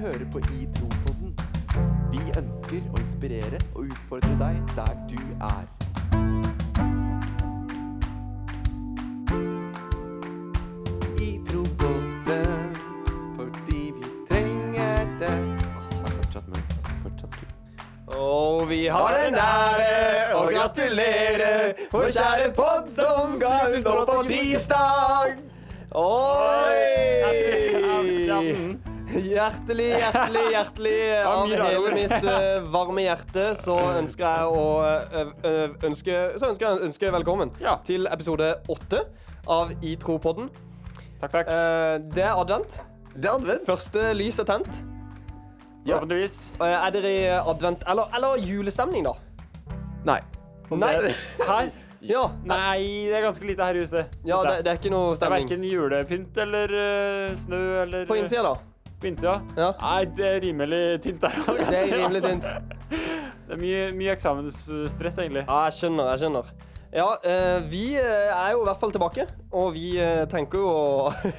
hører på I Tropodden. Vi ønsker å inspirere og utfordre deg der du er. I Tropodden, fordi vi trenger det. Åh, det er fortsatt mørkt. Fortsatt skummelt. Og vi har den ære å gratulere vår kjære podd som ga ut nå på tirsdag. Oi! Hjertelig, hjertelig, hjertelig av hele mitt eh, varme hjerte så ønsker jeg å eh, eh, ønske, så ønsker jeg å ønske velkommen Ja. til episode åtte av I tro-podden. Takk, takk. Eh, det er advent. Det er advent. Første lys er tent. Forhåpentligvis. Eh, er dere i advent eller, eller julestemning, da? Nei. Nei. Eh, Her? Ja. Nei, det er ganske lite her i huset. synes Ja, det, jeg. det er ikke noe det er stemning. verken julepynt eller eh, snø eller På innsida, da. På innsida? Ja. Nei, det er rimelig tynt der. Det er rimelig tynt. altså. Det er mye, mye eksamensstress, egentlig. Ja, jeg skjønner, jeg skjønner. Ja, eh, vi eh, er jo i hvert fall tilbake, og vi eh, tenker jo å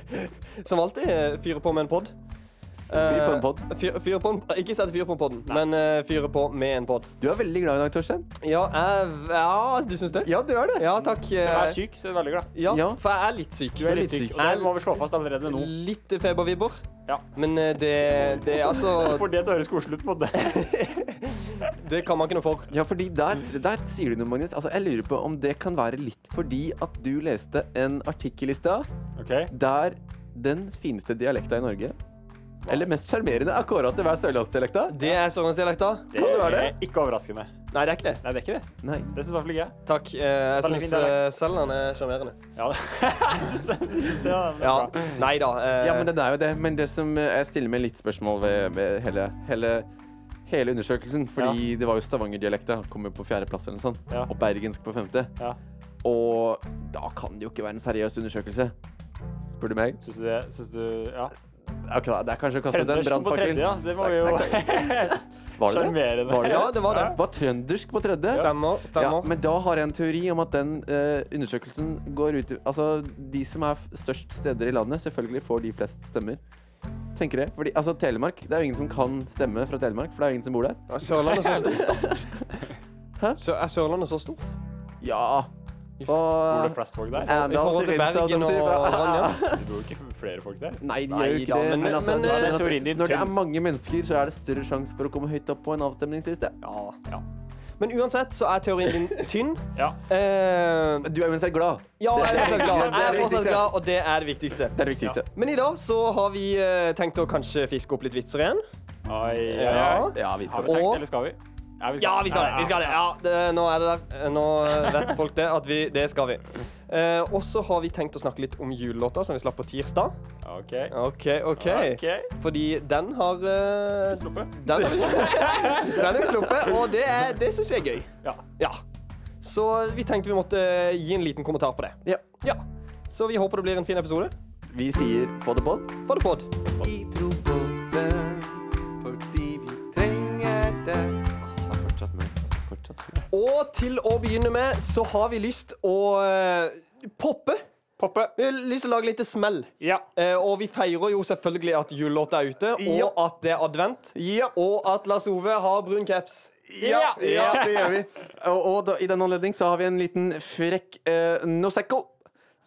Som alltid eh, fyre på med en pod. Fyre på en pod. Fyre, fyre på en, ikke sett fyr på en pod, men eh, fyre på med en pod. Du er veldig glad i dag, Torstein. Ja, jeg, ja du syns det? Ja, du er det. Ja, takk. eh, Jeg er syk, så jeg er veldig glad. Ja, Ja. for jeg er litt syk. Du er litt litt syk, syk. og det må vi slå fast allerede nå. Litt febervibber. Ja. Men eh, det, det er altså For det til å høres koselig ut, på det. Det kan man ikke noe for. Ja, fordi der, der sier du noe, Magnus. Altså, jeg lurer på om det kan være litt fordi at du leste en artikkel i stad Ok. der den fineste dialekta i Norge, eller mest sjarmerende, er kåra til hver sørlandsdialekta. Det er sørlandsdialekta. Det er ikke overraskende. Nei, det er ikke det. Nei, det er ikke det. Nei. Det syns i hvert fall ikke jeg. Takk. eh, Jeg Veldig syns fin dialekt. Selland er sjarmerende. Ja, det. du syns det, ja. men det er Ja. bra. Nei da. eh, Ja, men den er jo det. Men det som eh, jeg stiller meg litt spørsmål ved, ved hele, hele, hele undersøkelsen, fordi det var jo stavangerdialekta, kom jo på fjerdeplass eller noe sånt, Ja. og bergensk på femte. Ja. Og da kan det jo ikke være en seriøs undersøkelse. Spør du meg? Syns du det? Syns du Ja. Ok, da, det er kanskje å kaste ut en Trøndersken på tredje, brannfakkel. ja. Det var jo Var det det? sjarmerende. Var det Ja, det var det. Var trøndersk på tredje? Stemmer. Ja, stemmer. men da har jeg en teori om at den eh, undersøkelsen går ut Altså, de som er f- størst steder i landet, selvfølgelig får de flest stemmer. Tenker jeg. Fordi, altså, Telemark Det er jo ingen som kan stemme fra Telemark, for det er jo ingen som bor der. Er Sørlandet så stort, da? Hæ? Sør- Er Sørlandet så stort? Ja. Bor Og det flest folk der? I forhold til Bergen og Trondheim? Det bor jo ikke flere folk der. Nei, de Nei gjør jo ikke da, det. men- Men altså, men, du eh, skjønner at teorien din når det er tøm- mange mennesker, så er det større sjanse for å komme høyt opp på en avstemningsliste. Ja. Men uansett så er teorien din tynn. Ja. Eh, Du er uansett glad. ja, jeg er fortsatt glad. Det Jeg er er det fortsatt viktigste. glad, og det er det viktigste. Det er det viktigste. Men i dag så har vi eh, tenkt å kanskje fiske opp litt vitser igjen. Oi, oi, Ja. oi. Ja, vi Har skal vi tenkt, Og- eller skal vi? Ja, Ja, vi skal det. vi skal det. Ja, det, Nå er det der. Eh, Nå eh, vet folk det, at vi, det skal vi. Eh, og så har vi tenkt å snakke litt om julelåta som vi slapp på tirsdag. OK. OK, OK. OK. Fordi den har eh, Sluppet. Den har vi sluppet. Den har vi sluppet, og det, er- det syns vi er gøy. Ja. Ja. Så vi tenkte vi måtte eh, gi en liten kommentar på det. Ja. Ja. Så vi håper det blir en fin episode. Vi sier få det pod. Få det pod. Vi tror på det fordi vi trenger det. Det er fortsatt mørkt. Fortsatt skummelt. Og til å begynne med så har vi lyst å eh, poppe. Poppe. Vi har lyst til å lage litt smell. Ja. Eh, og vi feirer jo selvfølgelig at julelåta er ute, og Ja. at det er advent. Og at Lars Ove har brun caps. Ja, ja, det gjør vi. Og, og da, i den anledning så har vi en liten frekk eh, Nosecco.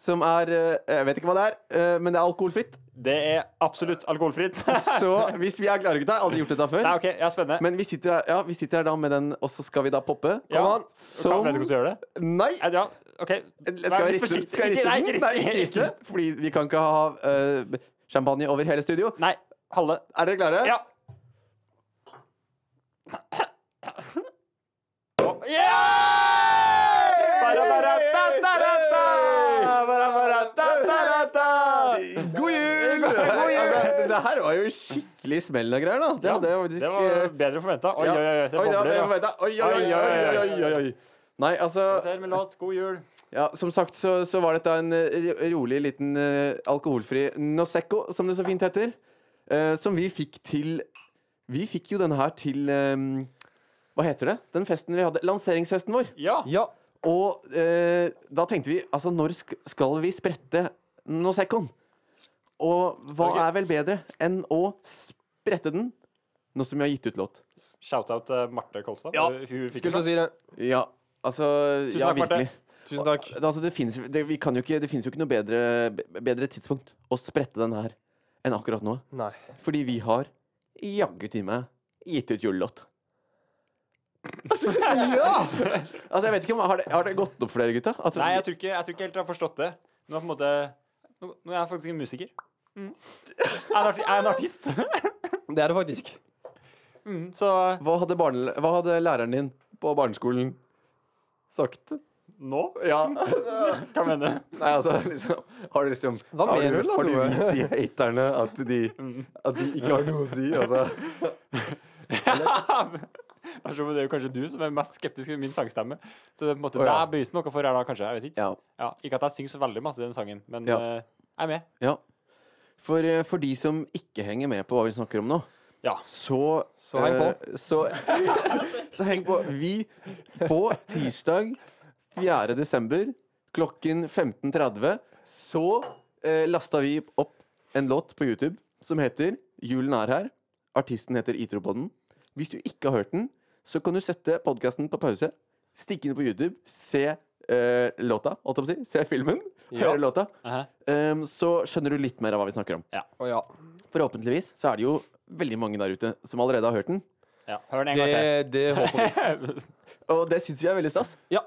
Som er eh, Jeg vet ikke hva det er, eh, men det er alkoholfritt. Det er absolutt alkoholfritt. Så hvis vi er klare, gutta Aldri gjort dette før. Nei, OK. Ja, spennende. Men vi sitter, her, ja, vi sitter her da med den, og så skal vi da poppe. Ja. Kom an. Kan, Som vet du hvordan du gjør det? Nei! Nei, Ja, OK. Skal jeg litt riste den? forsiktig. Skal jeg riste Ikke- Nei, den? ikke Nei, ikke rist den. Fordi vi kan ikke ha eh, champagne over hele studio. Nei, halve. Er dere klare? Ja. Altså, God jul! Altså, det her var jo skikkelig smell og greier, da. Det hadde jeg faktisk eh, Det var bedre forventa. Oi, ja. oi, oi. Oi, Se det var bobler. bedre ja. forventa. Oi, oi, oi, oi, oi, oi, oi. Nei, altså Der med låt. God jul. ja, Som sagt så, så var dette en eh, ro- rolig liten eh, alkoholfri Nosecco, som det så fint heter. eh, som vi fikk til Vi fikk jo den her til eh, Hva heter det? Den festen vi hadde. Lanseringsfesten vår. Ja. Ja. Og eh, da tenkte vi altså når sk skal vi sprette Noseccon? Og hva Ok. er vel bedre enn å sprette den nå som jeg har gitt ut låt. Shout-out til Marte Kolstad. Ja. Hun fikk Skulle til å det. si det. Ja, altså Tusen Ja, takk, Marte. virkelig. Tusen takk. Det- Altså, det fins det, vi kan jo ikke, det finnes jo ikke noe bedre, be- bedre tidspunkt å sprette den her enn akkurat nå. Nei. Fordi vi har jaggu time gitt ut julelåt. Altså, ja! altså, jeg vet ikke om Har det, har det gått opp for dere, gutta? Altså, At- Nei, jeg tror, ikke, jeg tror ikke helt jeg har forstått det. Nå er, på en måte, nå, nå er jeg faktisk en musiker. Mm. Jeg, er en arti- jeg er en artist. Det er det faktisk. Mm, så Hva hadde, barne, hva hadde læreren din på barneskolen sagt? nå Ja, kan vi hende. nei, altså liksom, Har du liksom Hva har du, mener du, har du Lars-Ove? vist de haterne at de, at de ikke har noe å si? Altså. Lars-Ove, Det er jo kanskje du som er mest skeptisk med min sangstemme. Så det er på en måte Å, ja. der beviser noe for her, da, kanskje. Jeg vet ikke. Ja. Ja, ikke at jeg synger så veldig masse i den sangen, men Ja. eh, jeg er med. ja. For, eh, for de som ikke henger med på hva vi snakker om nå, Ja. så Så heng på. eh, Så, så heng på. Vi på tirsdag 4. desember klokken 15.30 så eh, lasta vi opp en låt på YouTube som heter 'Julen er her'. Artisten heter Itropodden. Hvis du ikke har hørt den, så kan du sette podkasten på pause, stikke inn på YouTube, se eh, låta, holdt jeg på å si, se filmen, Ja. høre låta. Aha. Em, Ehm, så skjønner du litt mer av hva vi snakker om. Å ja. Forhåpentligvis så er det jo veldig mange der ute som allerede har hørt den. ja. Hør den en Det, gang til. det håper vi. Og det syns vi er veldig stas. Ja.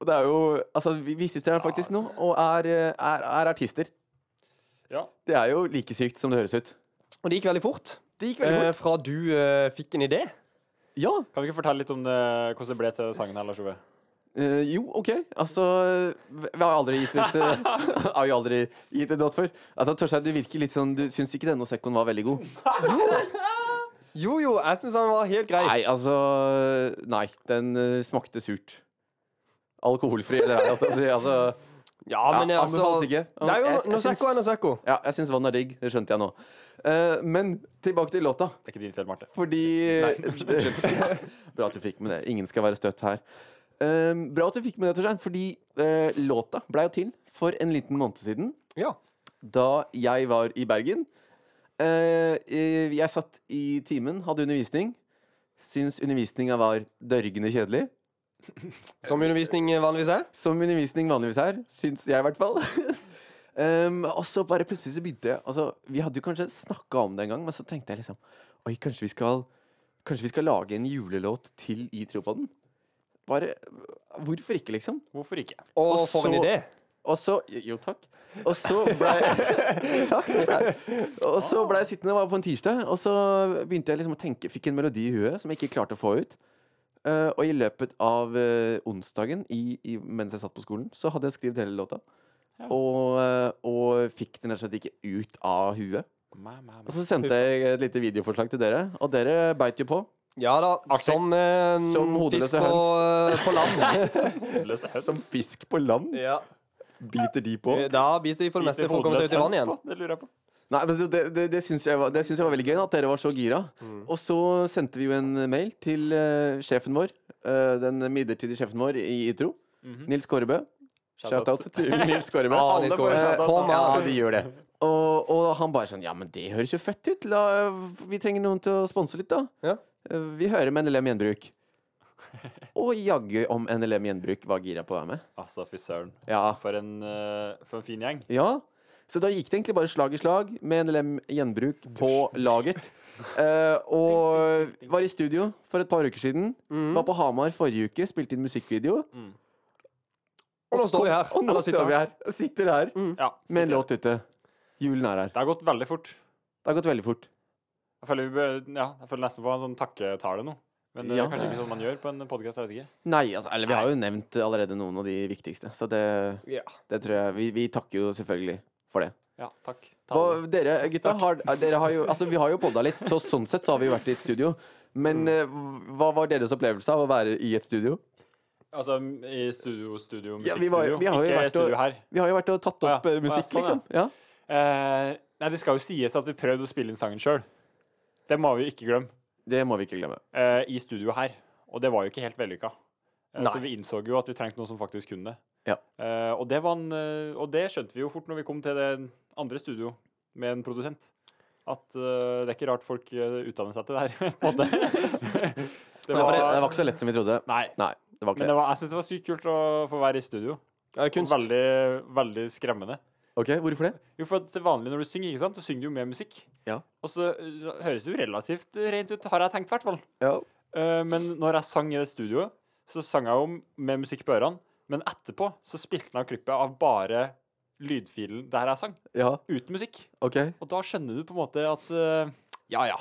Og det er jo Altså, vi, vi syns det er faktisk noe, og er, eh, er, er artister. Ja. Det er jo like sykt som det høres ut. Og det gikk veldig fort. Det gikk Eh, fra du eh, fikk en idé. Ja. Kan du ikke fortelle litt om det, hvordan det ble til sangen her, Lars-Ove? Eh, jo, OK. Altså Vi vi har aldri gitt et eh, Har jo aldri gitt et låt før. Altså, Torstein, du virker litt sånn Du syns ikke denne sekkoen var veldig god? Jo, jo, jeg syns han var helt grei. Nei, altså Nei. Den eh, smakte surt. Alkoholfri eller ei, altså. altså Ja, ja, men altså anbefales ikke. Det er Jeg- jo jeg syns- Nosecco er Nosecco. Ja, jeg syns vann er digg. Det skjønte jeg nå. Eh, men tilbake til låta. Det er ikke din feil, Marte. Fordi Bra at du fikk med det. Ingen skal være støtt her. Eh, bra at du fikk med det, Torstein, fordi eh, låta blei jo til for en liten måned siden. Ja. Da jeg var i Bergen. Eh, eh, jeg satt i timen, hadde undervisning. Syns undervisninga var dørgende kjedelig. Som undervisning eh, vanligvis er. Som undervisning vanligvis er, syns jeg i hvert fall. Ehm, og så bare plutselig så begynte jeg altså, Vi hadde jo kanskje snakka om det en gang, men så tenkte jeg liksom Oi, kanskje vi skal Kanskje vi skal lage en julelåt til i Tropoden? Bare Hvorfor ikke, liksom? Hvorfor ikke? Og, Og for en så- idé. Og så Jo, takk. Og så ble Takk. Og så ble jeg sittende det var på en tirsdag, og så begynte jeg liksom å tenke. Fikk en melodi i huet som jeg ikke klarte å få ut. Eh, og i løpet av eh, onsdagen i, i, mens jeg satt på skolen, så hadde jeg skrevet hele låta. Ja. Og, eh, og fikk den rett og slett ikke ut av huet. Mæ, mæ, mæ. Og så sendte jeg et lite videoforslag til dere, og dere beit jo på. Ja da. Artig. Som, eh, Som hodeløse fisk på, eh, på land. Hodeløse høns. Som fisk på land ja. Eh, biter de på. Da biter de på det meste for å komme seg ut i Hodeløs vannet igjen. høns på, Det lurer jeg på. Nei, men så det, det, det syns jeg, var- det syns jeg var veldig gøy, da, at dere var så gira. Og så sendte vi jo en mail til eh, sjefen vår, eh, den midlertidige sjefen vår i Itro, Nils Kårebø. Shout-out til Nils Kårebø. Ja, Alle Nils får Kåre. en shout-out, Kom da. Ja, an. de gjør det. Og, og han bare sånn Ja, men det høres jo fett ut. La, vi trenger noen til å sponse litt, da. Ja. Eh, Vi hører med NLM Gjenbruk. Og jaggu om NLM Gjenbruk var gira på å være med. Altså, fy søren. Ja. For en, eh, for en fin gjeng. ja. Så da gikk det egentlig bare slag i slag med NLM Gjenbruk på laget. Eh, og var i studio for et par uker siden. Mm. Var på Hamar forrige uke, spilte inn musikkvideo. Og nå står vi her. Og Mm. nå Eller sitter vi sitter her. Sitter her Ja, så med en det- låt ute. Julen er her. Det har gått veldig fort. Det har gått veldig fort. Jeg føler, vi bør, ja, jeg føler nesten på en sånn takketale nå. Men det Ja. er kanskje ikke sånn man gjør på en podkast. Jeg vet ikke. Nei, altså, eller vi har jo nevnt allerede noen av de viktigste, så det, Ja. det tror jeg Vi, vi takker jo selvfølgelig for det. Ja, takk. Ta Hva, det. dere gutta, har, dere har jo Altså, vi har jo podda litt, så sånn sett så har vi jo vært i et studio. Men eh, hva var deres opplevelse av å være i et studio? Altså i studio, studio, Ja, vi var- musikkstudio. vi har jo vært ikke og- studio her. Vi har jo vært og tatt ja. opp eh, Å ja, musikk, sånn, ja. liksom. Ja. Eh, nei, det skal jo sies at vi prøvde å spille inn sangen sjøl. Det må vi jo ikke glemme. Det må vi ikke glemme. Eh, I studio her. Og det var jo ikke helt vellykka. Eh, Nei. så vi innså jo at vi trengte noen som faktisk kunne det. Ja. Eh, og, det var en, eh, og det skjønte vi jo fort når vi kom til det andre studio med en produsent. at eh, det er ikke rart folk eh, utdanner seg til det her. på en måte. det Det var, ikke, det var, var ikke så lett som vi trodde. nei, Nei, det var ikke men det det. var, jeg syns det var sykt kult å få være i studio. Er det kunst? Veldig, veldig skremmende. Ok, Hvorfor det? Jo, for at til vanlig når du synger, ikke sant, så synger du jo med musikk. Ja. Og så, så høres det jo relativt rent ut, har jeg tenkt i hvert fall. Ja. Eh, men når jeg sang i det studioet, så sang jeg jo med musikk på ørene. Men etterpå så spilte han av klippet av bare lydfilen der jeg sang, ja, uten musikk. ok Og da skjønner du på en måte at eh, ja, ja.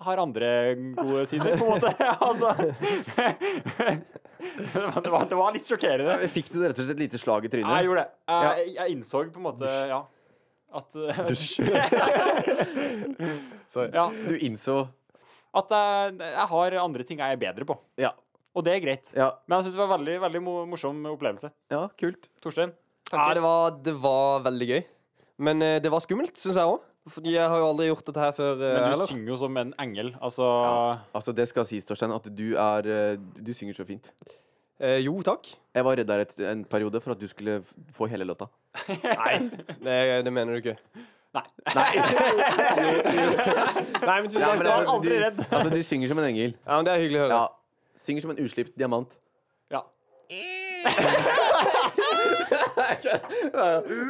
Jeg har andre gode sider, på en måte. altså. Men det, var, det var litt sjokkerende. Fikk du rett og slett et lite slag i Jeg trynet? gjorde det. Jeg, jeg innså på en måte, ja. At, eh, Sorry. ja, Du innså at jeg, jeg har andre ting jeg er bedre på. Ja. Og det er greit. Ja, Men jeg syns det var veldig, veldig mo- morsom opplevelse. ja kult. Torstein? Ja, det var, det var veldig gøy. Men eh, det var skummelt, syns jeg òg. Fordi jeg har jo aldri gjort dette her før. eh, Men du heller. synger jo som en engel. Altså Altså, det skal sies, Torstein, at du er eh, Du synger så fint. Eh, jo, takk. Jeg var redd der et, en periode for at du skulle f- få hele låta. Det, det mener du ikke. Nei. Nei, men tusen takk. men det var altså, aldri du, redd. altså, du synger som en engel. Ja, men Det er hyggelig å høre. Ja. Synger som en uslipt diamant. Ja. Det,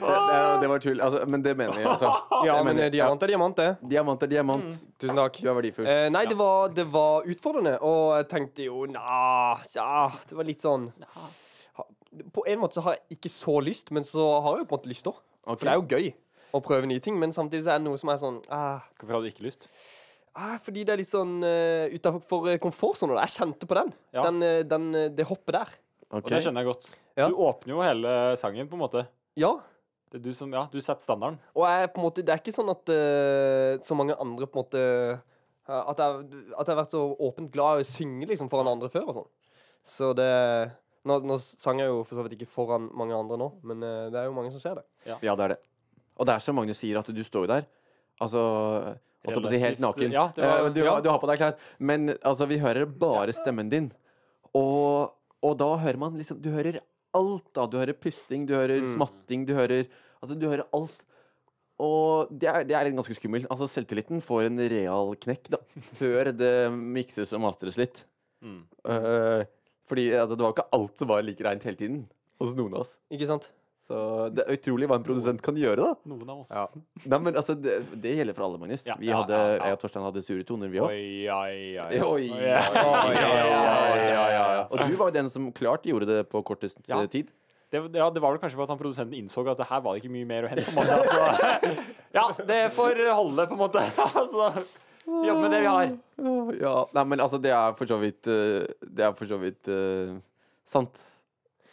det, det var tull. Altså, men det mener jeg, altså. Ja, det men mener eh, jeg. diamant er diamant, det. Diamant er diamant. Tusen takk. Du er verdifull. Eh, nei, det var, det var utfordrende, og jeg tenkte jo Nja, tja Det var litt sånn ha- På en måte så har jeg ikke så lyst, men så har jeg jo på en måte lyst òg. Ok. For det er jo gøy å prøve nye ting, men samtidig så er det noe som er sånn ah, Hvorfor hadde du ikke lyst? ah, Fordi det er litt sånn uh, utafor komfortsonen. og Jeg kjente på den. Ja. den, eh, den eh, det hoppet der. Ok. Og det skjønner jeg godt. Ja. Du åpner jo hele sangen, på en måte. Ja. Det er du som, ja, du setter standarden. Og jeg, på en måte, det er ikke sånn at eh, så mange andre på en måte eh, at, jeg, at jeg har vært så åpent glad i å synge liksom, foran andre før og sånn. Så det nå, nå sang jeg jo for så vidt ikke foran mange andre nå, men eh, det er jo mange som ser det. Ja, det er det. Og det er som Magnus sier, at du står jo der. Altså holdt jeg på å si helt Relativt- naken. ja, det var- Eh, du, ja. du har på deg klær. Men altså, vi hører bare stemmen din. Og, og da hører man liksom Du hører alt, da. Du hører pusting, du hører Mm. smatting, du hører Altså, du hører alt. Og det er, det er litt ganske skummelt. Altså, selvtilliten får en real knekk, da. Før det mikses og mastres litt. Mm. Eh, fordi altså, det var ikke alt som var like reint hele tiden hos noen av oss. Ikke sant? Så det er utrolig hva en produsent kan gjøre, da. Noen av oss. Ja. Nei, men altså, det, det gjelder for alle, Magnus. Ja, vi ja, hadde, ja, ja. Jeg og Torstein hadde sure toner, vi Oi, òg. oi, oi. Oi, oi, oi, ja. oi, oi, ja, ja, ja. oi. Og du var jo den som klart gjorde det på kortest Ja. eh, tid. Det, ja, det var vel kanskje for at han produsenten innså at det her var det ikke mye mer å hente. på en måte, altså. Ja, det får holde, på en måte. Altså, vi jobber med det vi har. Åh, Ja. Nei, men altså, det er for så vidt eh, Det er for så vidt eh, sant.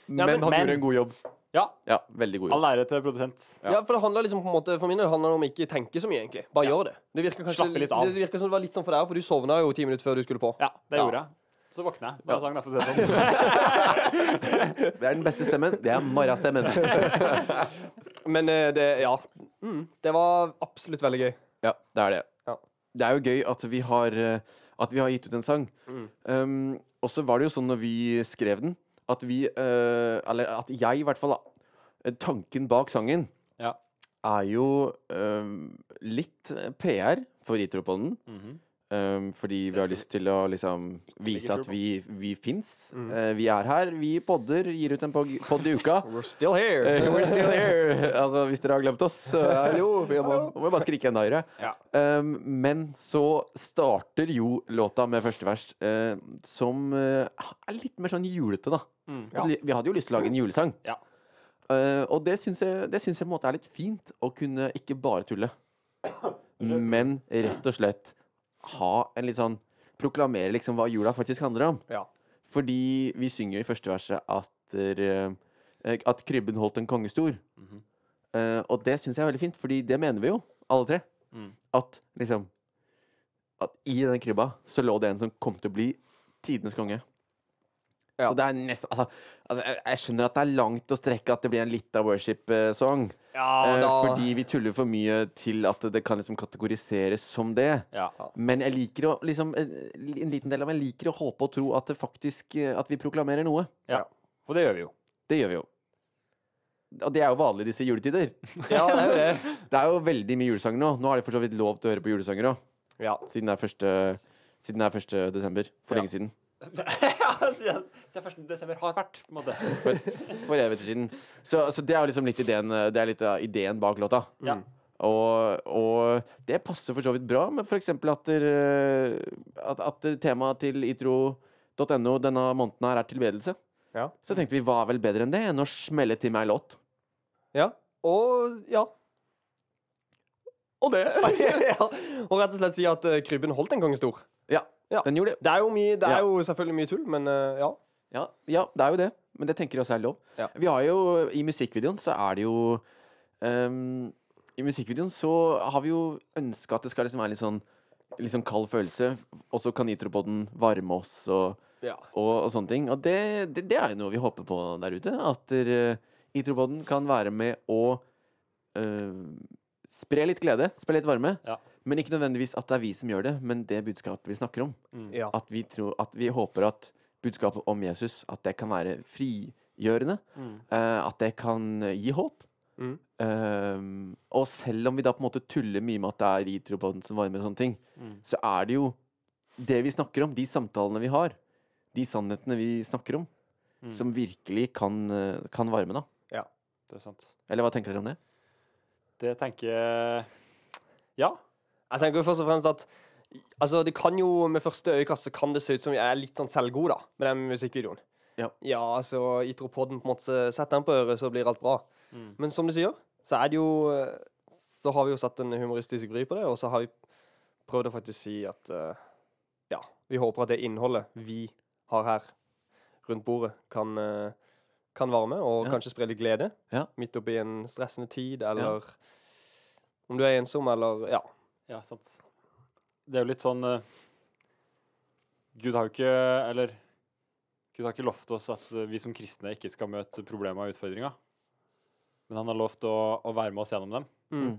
Men men- han men- gjorde en god jobb. Ja, Ja, veldig god jobb. all ære til produsent. Ja. Ja. for det handler liksom på en måte For min del handler det om ikke tenke så mye, egentlig. Bare gjør det. Det virker kanskje Slappe litt av. Det virker som det var litt sånn for deg, for du sovna jo ti minutter før du skulle på. Ja, det Ja. gjorde jeg. Så våkna jeg. Bare sang, da, for å si det sånn. Det er den beste stemmen. Det er Marra-stemmen. Men eh, det Ja. Mm, det var absolutt veldig gøy. Ja, det er det. Ja. Det er jo gøy at vi har, eh, at vi har gitt ut en sang. Mm. Um, og så var det jo sånn når vi skrev den, at vi eh, Eller at jeg, i hvert fall, da. Tanken bak sangen Ja. er jo um, litt PR for Itropodden. Mhm. Um, fordi vi har lyst til å liksom vise legge at vi, vi fins. Mm. Eh, vi er her. Vi podder. Gir ut en pod i uka. We're still here. Eh, We're still here. Altså, hvis dere har glemt oss, så er det jo Vi må, må jo bare skrike enda høyere. Ja. Um, men så starter jo låta med første vers, eh, som eh, er litt mer sånn julete, da. Mm. Og li- Vi hadde jo lyst til å lage en julesang. Ja. Eh, og det syns jeg, det syns jeg på en måte er litt fint, å kunne ikke bare tulle, men rett og slett ha en litt sånn Proklamere liksom hva jula faktisk handler om. Ja. Fordi vi synger jo i første verset at, eh, at krybben holdt en kongestor. Eh, og det syns jeg er veldig fint, fordi det mener vi jo, alle tre. Mm. At liksom At i den krybba så lå det en som kom til å bli tidenes konge. Ja. Så det er nesten Altså, altså jeg, jeg skjønner at det er langt å strekke at det blir en lita worship-song. Ja, eh, fordi vi tuller for mye til at det kan liksom kategoriseres som det. Ja. Men jeg liker å liksom, eh, En liten del av meg liker å håpe og tro at det faktisk eh, At vi proklamerer noe. ja. Og det gjør vi jo. Det gjør vi jo. Og det er jo vanlig i disse juletider. Ja, det er jo det. Det er jo veldig mye julesanger nå. Nå har de for så vidt lov til å høre på julesanger òg, Ja. siden det er første siden det er 1. desember. For Ja. lenge siden. Det er 1. desember har vært, på en måte. For evigheter siden. Så, så det er jo liksom litt ideen, eh, det er litt av ideen bak låta. Ja. Og, og det passer for så vidt bra med f.eks. at, der, eh, at, at temaet til itro.no denne måneden her er tilbedelse. Ja. Så tenkte vi hva er vel bedre enn det enn å smelle til meg en låt? ja. Og ja. Og det. ja. Og rett og slett si at eh, krybben holdt en gang stor. Ja, Ja. den gjorde det. Det er jo, mye, det Ja. er jo selvfølgelig mye tull, men eh, ja. Ja, ja, det er jo det. Men det tenker jeg også er lov. Ja. Vi har jo, I musikkvideoen så er det jo ehm, I musikkvideoen så har vi jo ønska at det skal liksom være litt sånn Litt sånn kald følelse, og så kan nitropoden varme oss og, Ja. og, og sånne ting. Og det, det, det er jo noe vi håper på der ute. At der, eh, nitropoden kan være med å eh, spre litt glede, spre litt varme. Ja. Men ikke nødvendigvis at det er vi som gjør det, men det budskapet vi snakker om Mm. ja. at vi, tror, at vi håper at budskapet om Jesus at det kan være frigjørende. Mm. eh, at det kan gi håp. Mm. Eh, og selv om vi da på en måte tuller mye med at det er ritro på den som varmer, og sånne ting, Mm. så er det jo det vi snakker om, de samtalene vi har, de sannhetene vi snakker om, Mm. som virkelig kan, eh, kan varme, da. Det er sant. Eller hva tenker dere om det? Det tenker jeg Ja. Jeg tenker jo først og fremst at Altså, det kan jo med første øyekast så kan det se ut som jeg er litt sånn selvgod, da, med den musikkvideoen. Ja. ja altså, Itropoden på en måte Sett den på øret, så blir alt bra. Mm. Men som du sier, så er det jo eh, Så har vi jo satt en humoristisk vri på det, og så har vi prøvd å faktisk si at eh, Ja, vi håper at det innholdet vi har her rundt bordet, kan, eh, kan varme, og Ja. kanskje spre litt glede Ja. midt oppi en stressende tid, eller om du er ensom, eller Ja. Ja, sant. Det er jo litt sånn eh, Gud har jo ikke Eller Gud har ikke lovt oss at eh, vi som kristne ikke skal møte problemer og utfordringer. Men han har lovt å, å være med oss gjennom dem. Mm.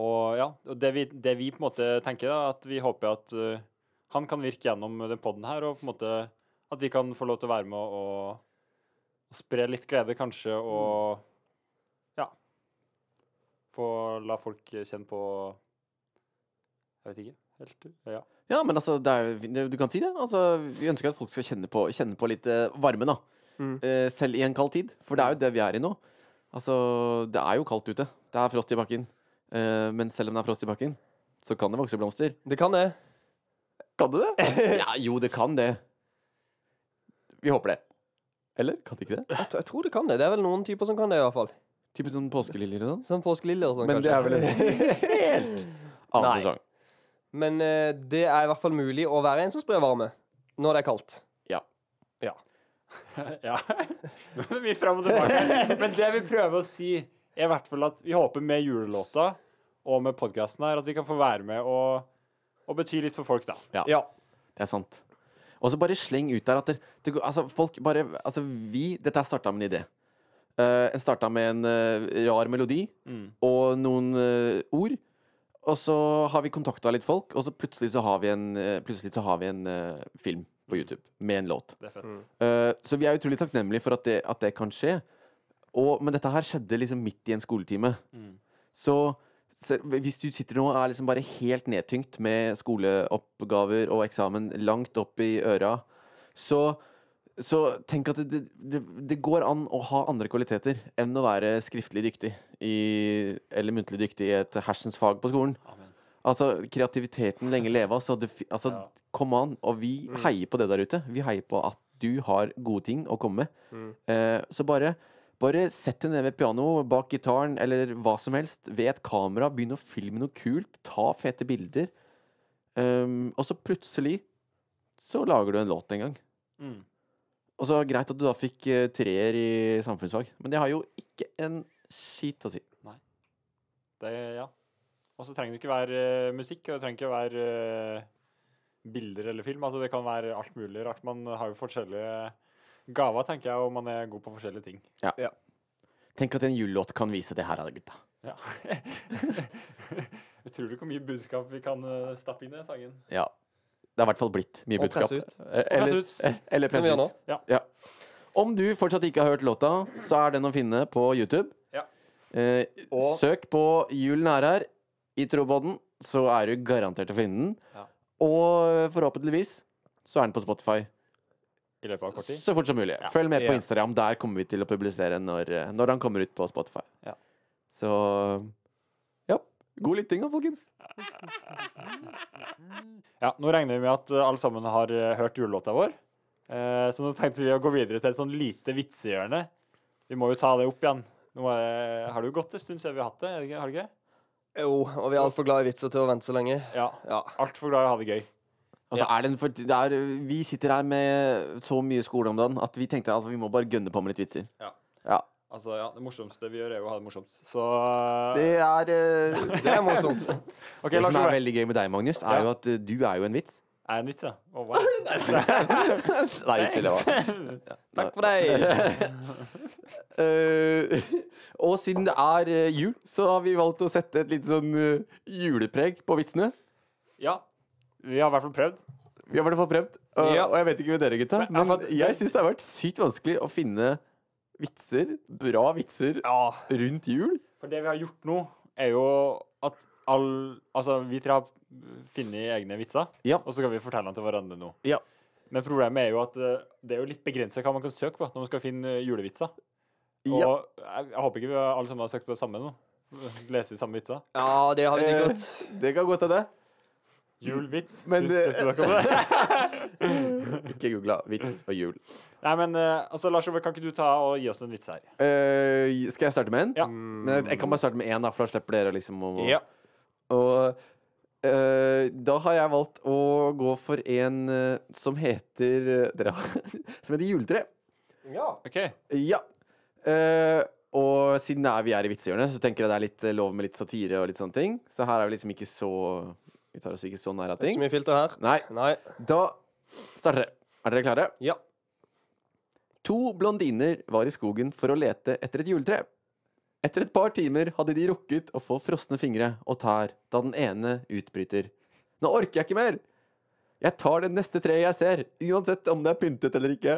Og ja, og det vi, det vi på en måte tenker, da, at vi håper at eh, han kan virke gjennom den poden her, og på en måte at vi kan få lov til å være med og, og spre litt glede, kanskje, og ja Få la folk kjenne på Jeg vet ikke. Helt Ja. Ja, men altså, det er, jo- det- du kan si det. Altså, vi ønsker at folk skal kjenne på, kjenne på litt eh, varme, da. Mm. Eh, selv i en kald tid. For det er jo det vi er i nå. Altså, det er jo kaldt ute. Det er frost i bakken. Eh, men selv om det er frost i bakken, så kan det vokse blomster. Det kan det. Kan det det? Ja, jo, det kan det. Vi håper det. Eller kan det ikke det? Jeg, tr- jeg tror det kan det. Det er vel noen typer som kan det, i hvert fall. Typisk sånn påskeliljer og sånn. Sånn påskeliljer og sånn, Men det er vel en helt annen Nei. sesong. Men eh, det er i hvert fall mulig å være en som sprer varme når det er kaldt. ja. Nå er det mye fram og tilbake. Men det vi prøver å si, er i hvert fall at vi håper med julelåta og med podkasten her at vi kan få være med og, og bety litt for folk, da. Ja. Det er sant. Og så bare sleng ut der at det, det, går- altså, folk bare Altså, vi Dette er starta med en idé. Eh, en starta med en eh, rar melodi Mm. og noen eh, ord. Og så har vi kontakta litt folk, og så plutselig så har vi en, eh, plutselig så har vi en eh, film på YouTube med en låt. Det er fett. Mm. Eh, så vi er utrolig takknemlige for at det, at det kan skje. Og, men dette her skjedde liksom midt i en skoletime. Mm. Så, så hvis du sitter nå og er liksom bare helt nedtyngt med skoleoppgaver og eksamen langt opp i øra, så, så tenk at det, det, det går an å ha andre kvaliteter enn å være skriftlig dyktig i, eller muntlig dyktig i et hersens fag på skolen. Amen. Altså, kreativiteten lenge leve. Altså, det, fi- altså Ja. come on. Og vi Mm. heier på det der ute. Vi heier på at du har gode ting å komme med. Mm. Eh, så bare, bare sett deg ned ved pianoet, bak gitaren eller hva som helst. Ved et kamera, begynn å filme noe kult. Ta fete bilder. Um, og så plutselig så lager du en låt en gang. Mm. Og så greit at du da fikk eh, treer i samfunnsfag, men det har jo ikke en skit å si. Det, ja. Og så trenger det ikke være eh, musikk, og det trenger ikke være eh, bilder eller film. Altså, det kan være alt mulig rart. Man har jo forskjellige gaver, tenker jeg, og man er god på forskjellige ting. Tenk at en julelåt kan vise det her, da, gutta. Ja. Utrolig hvor mye budskap vi kan eh, stappe inn i den sangen. Ja. Det har i hvert fall blitt mye Og budskap. presse ut. Eh, Eller, Press ut. eh, eller Som vi presse gjør nå. ut. Ja. Om du fortsatt ikke har hørt låta, så er den å finne på YouTube. Ja. Eh, Og- søk på 'Julen er her' i Troboden, så er du garantert å finne den. Ja. Og forhåpentligvis så er den på Spotify I løpet av kort tid. så fort som mulig. Ja. Følg med på Ja. Instagram. Der kommer vi til å publisere når, eh, når han kommer ut på Spotify. Ja. Så ja. God lytting da, folkens. Ja, nå regner vi med at eh, alle sammen har eh, hørt julelåta vår. Eh, så nå tenkte vi å gå videre til et sånn lite vitsehjørne. Vi må jo ta det opp igjen. Nå er, det- har det jo gått en stund siden vi har hatt det, er det ikke- har det ikke? Jo, og vi er altfor glad i vitser til å vente så lenge. Ja. Ja. Altfor glad i å ha det gøy. Altså, er det en for, det er, vi sitter her med så mye skole om dagen at vi tenkte at vi må bare gønne på med litt vitser. Ja. Ja. Altså, ja, Det morsomste vi gjør, er jo å ha det morsomt. Så Det er eh, Det er morsomt. OK, Det Lars som er Ove. veldig gøy med deg, Magnus, er jo at eh, du er jo en vits. Er jeg nytt, da? Å, wow. Nei, ikke det. var- Takk for deg. Eh, og siden det er eh, jul, så har vi valgt å sette et litt sånn eh, julepreg på vitsene. Ja. Vi har i hvert fall prøvd. Vi har i hvert fall prøvd. Og, Ja. og jeg vet ikke med dere, gutta, Men jeg men fant- jeg syns det har vært sykt vanskelig å finne vitser, bra vitser, Ja. rundt jul. For det vi har gjort nå, er jo at all Altså, vi tre har funnet egne vitser, Ja. og så kan vi fortelle dem til hverandre nå. Ja. Men problemet er jo at eh, det er jo litt begrenset hva man kan søke på når man skal finne eh, julevitser. Og Ja. jeg, jeg håper ikke vi alle sammen har søkt på det samme nå. Leser vi samme vitser? ja, det har vi sikkert. Eh, det kan godt hende. Julvits. Men, syns- eh, syns du dere om det? Ikke googla vits og jul. Nei, men eh, altså, Lars Ove, kan ikke du ta og gi oss en vits her? Eh, skal jeg starte med en? Ja. Men Mm. jeg, jeg kan bare starte med én, da, for da slipper dere liksom å Ja. Og eh, da har jeg valgt å gå for en eh, som heter eh, Dere har Som heter Juletre. ja. OK. Ja. Eh, og siden det er vi er i vitsehjørnet, så tenker jeg det er litt eh, lov med litt satire og litt sånne ting. Så her er vi liksom ikke så Vi tar oss ikke så nær av Ikke ting. så mye filter her. Nei. Nei. Da starter det. Er dere klare? Ja. To blondiner var i skogen for å lete etter et juletre. Etter et par timer hadde de rukket å få frosne fingre og tær da den ene utbryter. Nå orker jeg ikke mer! Jeg tar det neste treet jeg ser, uansett om det er pyntet eller ikke.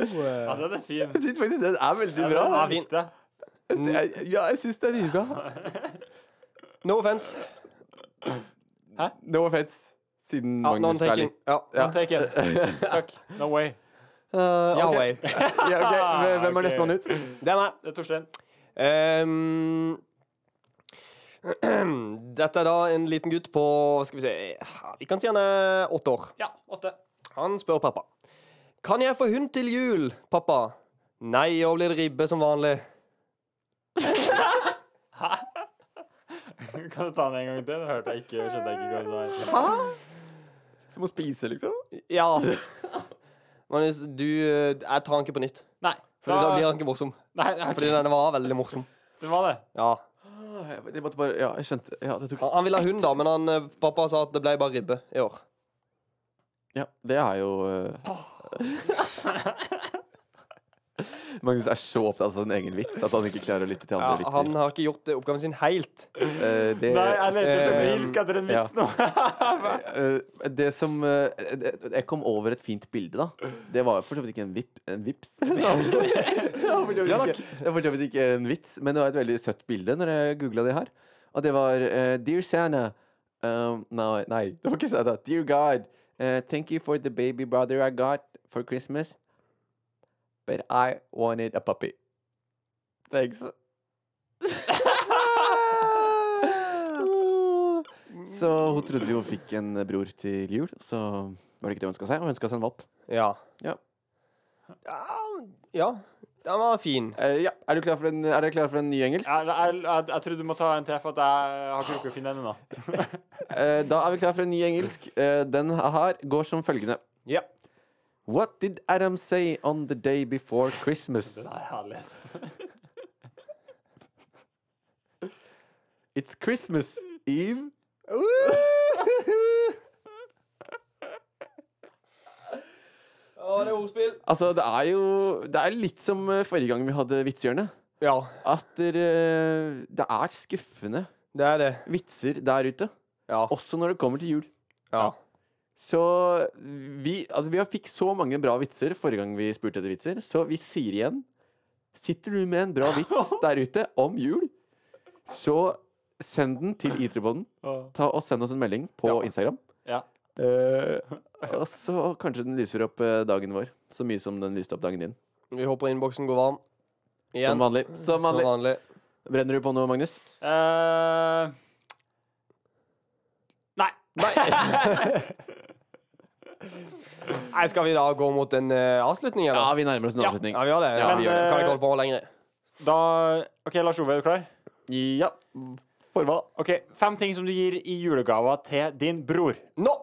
Ja, den er fin. Jeg syns faktisk den er veldig Ja, bra. den er Jeg, fin. Det. jeg, ja, jeg syns det er dritbra. No offense. No offense, siden Ja, noen Magnus er taking. litt Ja. Ja. Take it. Takk. No way. Uh, Ja, ok. way. Ja, ok. Hvem- Hvem er Ok. nestemann ut? Det er meg. Det er Eh, Torstein. Ehm, dette er da en liten gutt på Skal vi se ja, Vi kan si han er åtte år. Ja, åtte. Han spør pappa. Kan jeg få hund til jul, pappa? Nei, og blir det ribbe som vanlig. Kan du ta den en gang til? Det hørte jeg ikke. skjønte jeg ikke hva du sa. Som å spise, liksom? Ja. Magnus, du eh, Jeg tar han ikke på nytt. Nei. For da blir han ikke morsom. Nei, nei, ok. Fordi denne var veldig morsom. Den var det. Ja. Ah, Jeg jeg måtte bare Ja, jeg skjønte. Ja, det tok Han, han ville ha hund, da, men han, eh, pappa sa at det ble bare ribbe i år. Ja, det er jo eh, Magnus er så opptatt av sin egen vits at han ikke klarer å lytte til Ja, andre han vitser. har ikke gjort eh, oppgaven sin helt. Eh, det, Nei, jeg eh, leter febrilsk etter en vits nå. eh, det som eh, det, Jeg kom over et fint bilde, da. Det var for så vidt ikke en, vip, en vips. Det var for så vidt ikke- det var for så vidt ikke en vits, men det var et veldig søtt bilde når jeg googla det her. Og det var eh, Dear Santa um, nei, nei, det var ikke Santa. Dear God, eh, thank you for the baby brother I got for Christmas. But I wanted a puppy. Thanks. Så hun trodde jo hun fikk en bror til jul, så var det ikke det hun ønska seg. Hun ønska seg en valp. Ja. Ja. Ja, den var fin. Eh, ja. Er du klar for en, er dere klar for en ny engelsk? Jeg, jeg, jeg, jeg tror du må ta en til, for at jeg har ikke rukket å finne den ennå. Eh, da er vi klar for en ny engelsk. Eh, den her går som følgende. Ja. What did Adam say on the day before Christmas? Den her har jeg lest. It's Christmas Eve. Å, det er ordspill. Altså, det er jo Det er litt som eh, forrige gang vi hadde vitsehjørnet. Ja, At dere- eh, det er skuffende det er det. vitser der ute. Ja. Også når det kommer til jul. ja. Så vi, altså, vi har fikk så mange bra vitser forrige gang vi spurte etter vitser, så vi sier igjen Sitter du med en bra vits der ute om jul, så send den til IT-podden. Ta og Send oss en melding på Ja. Instagram. Ja. Og så kanskje den lyser opp eh, dagen vår. Så mye som den lyste opp dagen din. Vi håper innboksen går varm. Igjen. Som vanlig. Som vanlig. Som vanlig. Brenner du på noe, Magnus? Eh, nei. Nei, skal vi da gå mot en eh, avslutning, Ja, eller? vi nærmer oss en Ja. avslutning. Ja, vi gjør det. Ja, Men, eh, vi gjør det. Kan vi ikke holde på lenger? Da OK, Lars Ove, er du klar? Ja. For hva? OK. Fem ting som du gir i julegave til din bror. Nå!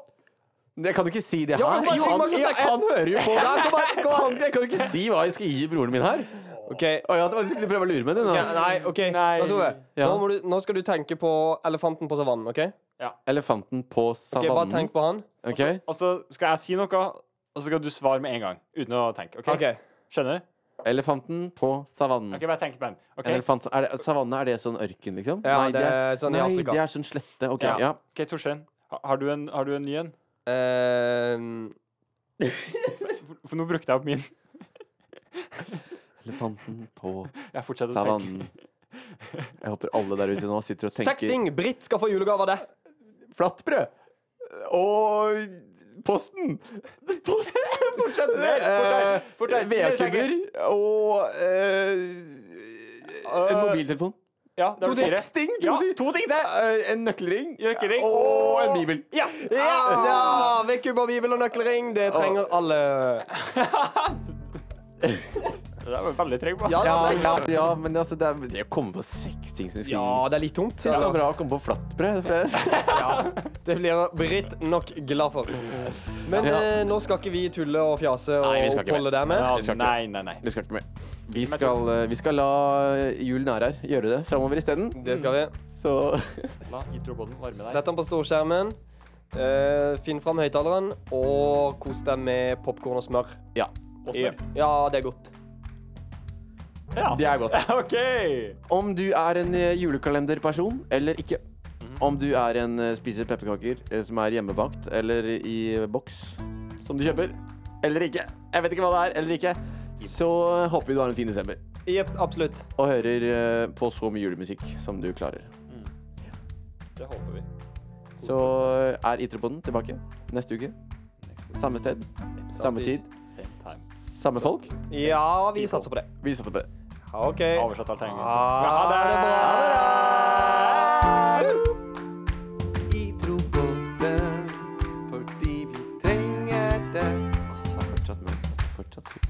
Jeg kan jo ikke si det her. Ja, men bare- han, Magnus, ja, Magnus. han hører jo på. Ja, kom her, kom her. Han, jeg kan jo ikke si hva jeg skal gi broren min her. OK. Å ja, det var du skulle prøve å lure meg, du. nå. Ja, nei, OK. Nei. Lars Ove, Ja. nå, må du, nå skal du tenke på elefanten på savannen, OK? Elefanten på Ok, Bare savannen. tenk på han. Ok? Og så skal jeg si noe, og så skal du svare med en gang. Uten å tenke. OK? OK. Skjønner? Elefanten på savannen. OK, bare tenk på den. En OK, elefant, er det, savanne, er det sånn ørken, liksom? Ja, det er sånn i nei, Afrika. det er sånn slette. Ok, Ja. ja. Ok, Torstein. ha- Har du en, har du en ny en? Eh, For- For nå brukte jeg opp min. Elefanten på Jeg fortsetter å tenke. savannen. Jeg håper alle der ute nå sitter og tenker seks ting Britt skal få julegave av deg. Flatbrød! Og Posten! Posten! Eh, Fortsett mer, fortell, fortell. Vedkubber og eh, En mobiltelefon. Ja, det var fire. Seks ting! To, Ja, ting. to ting. Eh, en nøkkelring. Nøkkelring. Og en bibel. Ja. Ah. Ja! Vekk opp bibel og nøkkelring. Det trenger alle. Det der var jeg veldig treg på. Ja, det Ja, var ja, ja, men altså, det, er, det å komme på seks ting som vi skulle Ja, gi det er litt tungt. Det er så altså. bra å komme på flatbrød. for det- Det blir Britt nok glad for. Men Ja. eh, nå skal ikke vi tulle og fjase og Nei, vi skal ikke oppholde deg med. Ja, Det skal ikke. nei, nei, nei. Vi skal ikke mer. Vi skal, eh, vi skal la Jul Nærær gjøre det framover isteden. Det skal vi. Mm. Så La introboden varme deg. Sett den på storskjermen. eh, finn fram høyttaleren og kos deg med popkorn og smør. ja. Og smør. Ja, det er godt. Ja. Det er godt. OK. Om du er en eh, julekalenderperson eller ikke. Om du er en eh, spiser pepperkaker eh, som er hjemmebakt eller i eh, boks som du kjøper. Eller ikke. Jeg vet ikke hva det er. Eller ikke. Så eh, håper vi du har en fin desember Jepp, absolutt. og hører eh, på så mye julemusikk som du klarer. Det håper vi. Så eh, er Itropoden tilbake neste uke. Samme sted, samme tid, Same time. samme folk. Ja, vi satser på det. Vi satser på det. OK. Oversett alt engelsk. Ha det bra. Vi tror på det fordi vi trenger det. Jeg har fortsatt ment. Fortsatt sikkert.